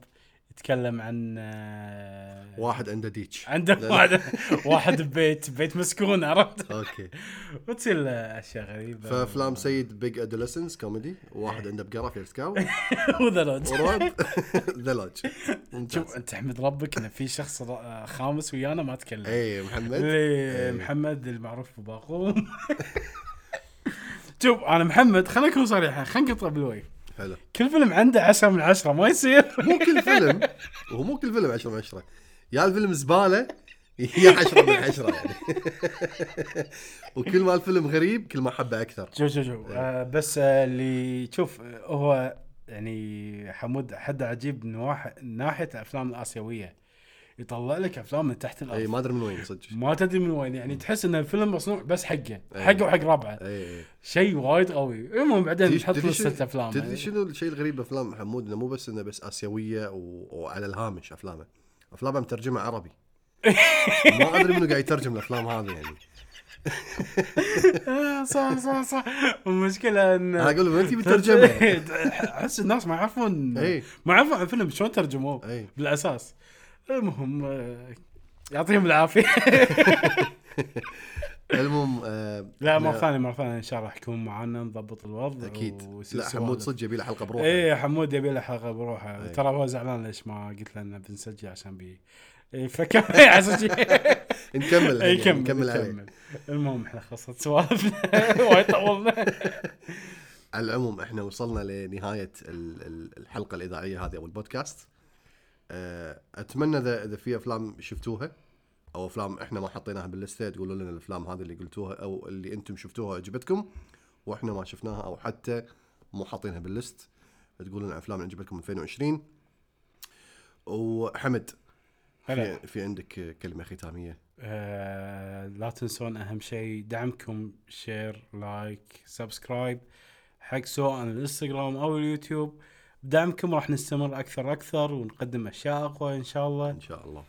Speaker 2: يتكلم عن آه،
Speaker 1: واحد عنده ديتش
Speaker 2: عنده
Speaker 1: لا.
Speaker 2: واحد واحد ببيت بيت مسكون عرفت
Speaker 1: اوكي
Speaker 2: وتصير له اشياء غريبه
Speaker 1: فافلام سيد بيج ادوليسنس كوميدي واحد عنده بقره في كاو
Speaker 2: وذا لوج
Speaker 1: ورعب ذا لوج ممتاز
Speaker 2: شوف انت احمد ربك ان في شخص را- خامس ويانا ما تكلم
Speaker 1: اي إيه، محمد
Speaker 2: اللي محمد المعروف بباقوم شوف انا محمد خلينا نكون صريحين خلينا نقطع بالوجه
Speaker 1: حلو
Speaker 2: كل فيلم عنده عشرة من عشرة ما يصير
Speaker 1: مو كل فيلم وهو مو كل فيلم 10 من 10 يا الفيلم زباله يا 10 من 10 يعني وكل ما الفيلم غريب كل ما حبه اكثر
Speaker 2: شوف شوف شوف آه بس آه اللي شوف آه، هو يعني حمود حد عجيب من واحد من ناحيه الافلام الاسيويه يطلع لك افلام من تحت
Speaker 1: اي
Speaker 2: الارض
Speaker 1: إيه، ما ادري من وين صدق
Speaker 2: ما تدري من وين يعني تحس ان الفيلم مصنوع بس حقه
Speaker 1: أي.
Speaker 2: حقه وحق ربعه
Speaker 1: اي اي
Speaker 2: شيء وايد قوي المهم بعدين
Speaker 1: تدري-
Speaker 2: نحط
Speaker 1: تدري شنو-
Speaker 2: لستة افلام
Speaker 1: تدري
Speaker 2: يعني.
Speaker 1: شنو الشيء الغريب بافلام محمود انه مو بس انه بس اسيويه و... وعلى الهامش افلامه افلامه مترجمه عربي ما ادري منو قاعد يترجم الافلام هذه يعني
Speaker 2: آه، صح صح صح والمشكله ان
Speaker 1: انا اقول له وين تبي ترجمه
Speaker 2: احس الناس ما يعرفون
Speaker 1: إي.
Speaker 2: ما يعرفون الفيلم شلون ترجموه
Speaker 1: إي.
Speaker 2: بالاساس المهم آه، يعطيهم العافيه
Speaker 1: المهم آه
Speaker 2: لا مره
Speaker 1: أنا-
Speaker 2: ثانيه مره ثانيه ان شاء الله راح يكون معانا نضبط الوضع
Speaker 1: اكيد
Speaker 2: ويصير
Speaker 1: لا
Speaker 2: سوالف.
Speaker 1: حمود صدق يبي له حلقه بروحه
Speaker 2: ايه حمود يبي له حلقه بروحه
Speaker 1: إيه.
Speaker 2: ترى هو زعلان ليش ما قلت له انه بنسجل عشان بي إيه، فكمل عشان شي-
Speaker 1: نكمل
Speaker 2: إيه،
Speaker 1: يعني،
Speaker 2: كمل
Speaker 1: نكمل عليه
Speaker 2: كمل المهم احنا خلصت سوالفنا وايد طولنا
Speaker 1: على العموم احنا وصلنا لنهايه ال- ال- الحلقه الاذاعيه هذه او البودكاست آه، اتمنى اذا اذا في افلام شفتوها او افلام احنا ما حطيناها باللسته تقولوا لنا الافلام هذه اللي قلتوها او اللي انتم شفتوها عجبتكم واحنا ما شفناها او حتى مو حاطينها باللست تقول لنا افلام اللي عجبتكم 2020 وحمد
Speaker 2: هلا.
Speaker 1: في, في عندك كلمه ختاميه
Speaker 2: آه، لا تنسون اهم شيء دعمكم شير لايك سبسكرايب حق سواء الانستغرام او اليوتيوب بدعمكم راح نستمر اكثر اكثر ونقدم اشياء اقوى ان شاء الله
Speaker 1: ان شاء الله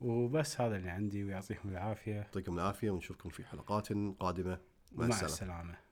Speaker 2: وبس هذا اللي عندي ويعطيكم العافيه
Speaker 1: يعطيكم العافيه ونشوفكم في حلقات قادمه مع
Speaker 2: مع
Speaker 1: السلامه
Speaker 2: السلامه